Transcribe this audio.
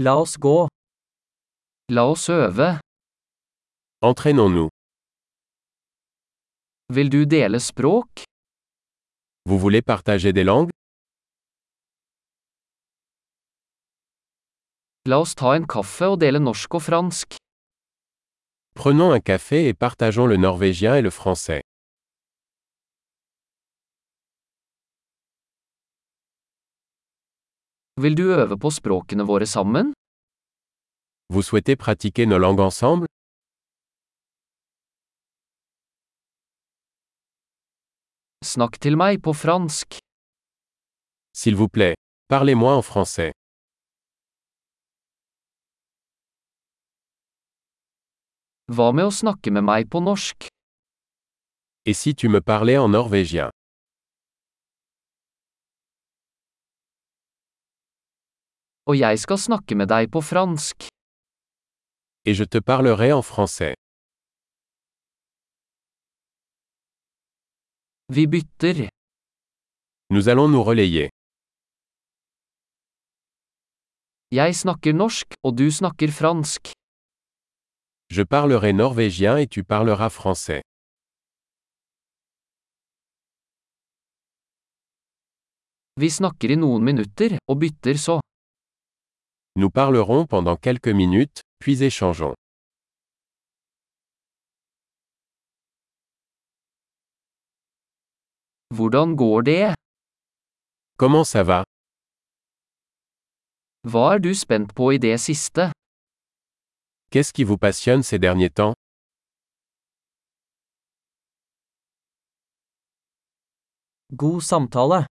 La oss gå. La oss øve. Entraînons-nous. Vil du dele språk? Vous voulez partager des langues La oss ta en kaffe og dele norsk og fransk. Prenons un café et partageons le norvégien et le français. Vil du øve på språkene våre sammen? Vous souhaitez pratiquer nos langues ensemble Snakk til meg på fransk. S'il vous plaît, parlez-moi en français. Hva med å snakke med meg på norsk? Et si tu me parlais en norvégien Og jeg skal snakke med deg på fransk. Et je te parlerai en français. Vi bytter. Nous allons nous relayer. Jeg snakker norsk, og du snakker fransk. Je parlerai norvégien et tu parleras français. Vi snakker i noen minutter, og bytter så. Nous parlerons pendant quelques minutes, puis échangeons. Hvordan går det? Comment ça va Hva er du spent på i det siste? Qu'est-ce qui vous passionne ces derniers temps God samtale.